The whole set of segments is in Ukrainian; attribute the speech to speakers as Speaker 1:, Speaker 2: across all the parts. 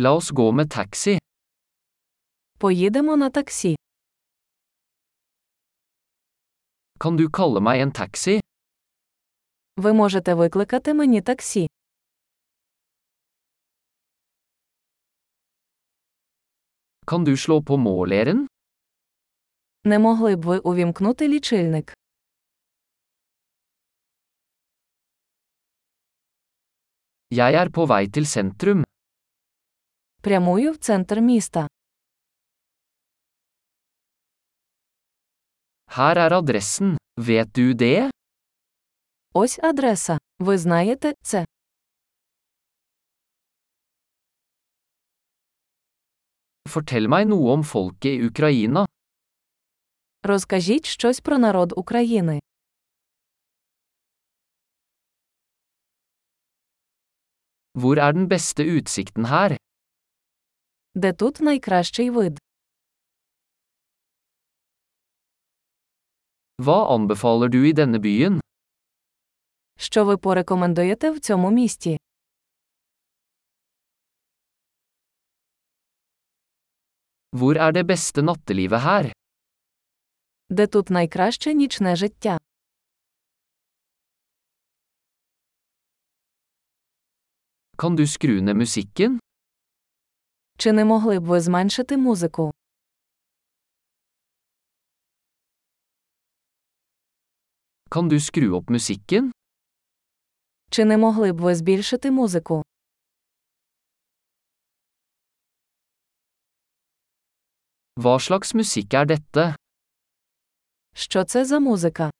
Speaker 1: La oss gå med taxi.
Speaker 2: Поїдемо на таксі.
Speaker 1: Kan du kalle meg en taxi?
Speaker 2: Ви можете викликати мені таксі.
Speaker 1: Kan du slå på måleren?
Speaker 2: Не могли б ви увімкнути лічильник?
Speaker 1: Jeg er på vei til sentrum.
Speaker 2: Прямую в центр міста.
Speaker 1: Her er adressen. Vet du det?
Speaker 2: Ось адреса. Ви знаєте це.
Speaker 1: Fortell meg noe om folket i Ukraina.
Speaker 2: Розкажіть щось про народ України.
Speaker 1: Hvor er den beste utsikten her?
Speaker 2: Де тут найкращий вид?
Speaker 1: Hva anbefaler du i denne byen?
Speaker 2: Що ви порекомендуєте в цьому місті?
Speaker 1: Hvor er det beste nattelivet her?
Speaker 2: Де тут найкраще нічне життя?
Speaker 1: Kan du skru ned musikken?
Speaker 2: Чи не могли б ви зменшити музику?
Speaker 1: Kan du skru opp musikken?
Speaker 2: Чи не могли б ви збільшити музику?
Speaker 1: Hva slags musikk er dette?
Speaker 2: Що це за музика?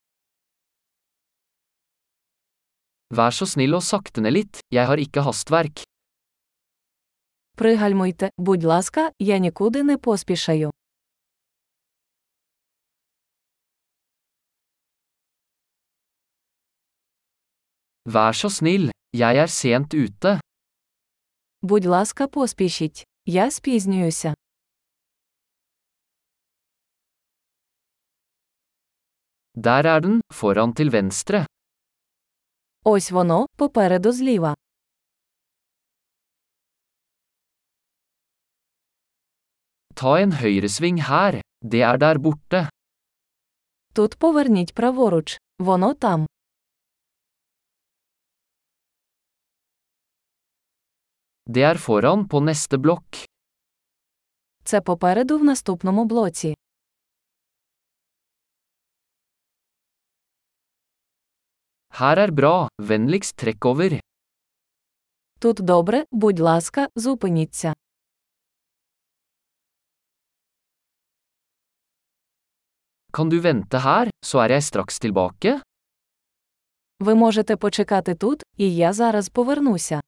Speaker 1: Vær så snill å sakte ned litt, jeg har ikke hastverk.
Speaker 2: Пригальмуйте, будь ласка, я нікуди не поспішаю.
Speaker 1: Vær så snill, jeg er sent ute.
Speaker 2: Будь ласка, поспішіть. Я спізнююся.
Speaker 1: Der er den, foran til venstre.
Speaker 2: Ось воно, попереду зліва.
Speaker 1: Ta en høyresving her. Det er der borte.
Speaker 2: Тут поверніть праворуч. Воно там.
Speaker 1: Det er foran på neste blokk.
Speaker 2: Це попереду в наступному блоці.
Speaker 1: Her er bra, vennligst trekk over.
Speaker 2: Тут добре, будь ласка, зупиніться.
Speaker 1: Kan du vente her, så er jeg straks tilbake?
Speaker 2: Ви можете почекати тут, і я зараз повернуся.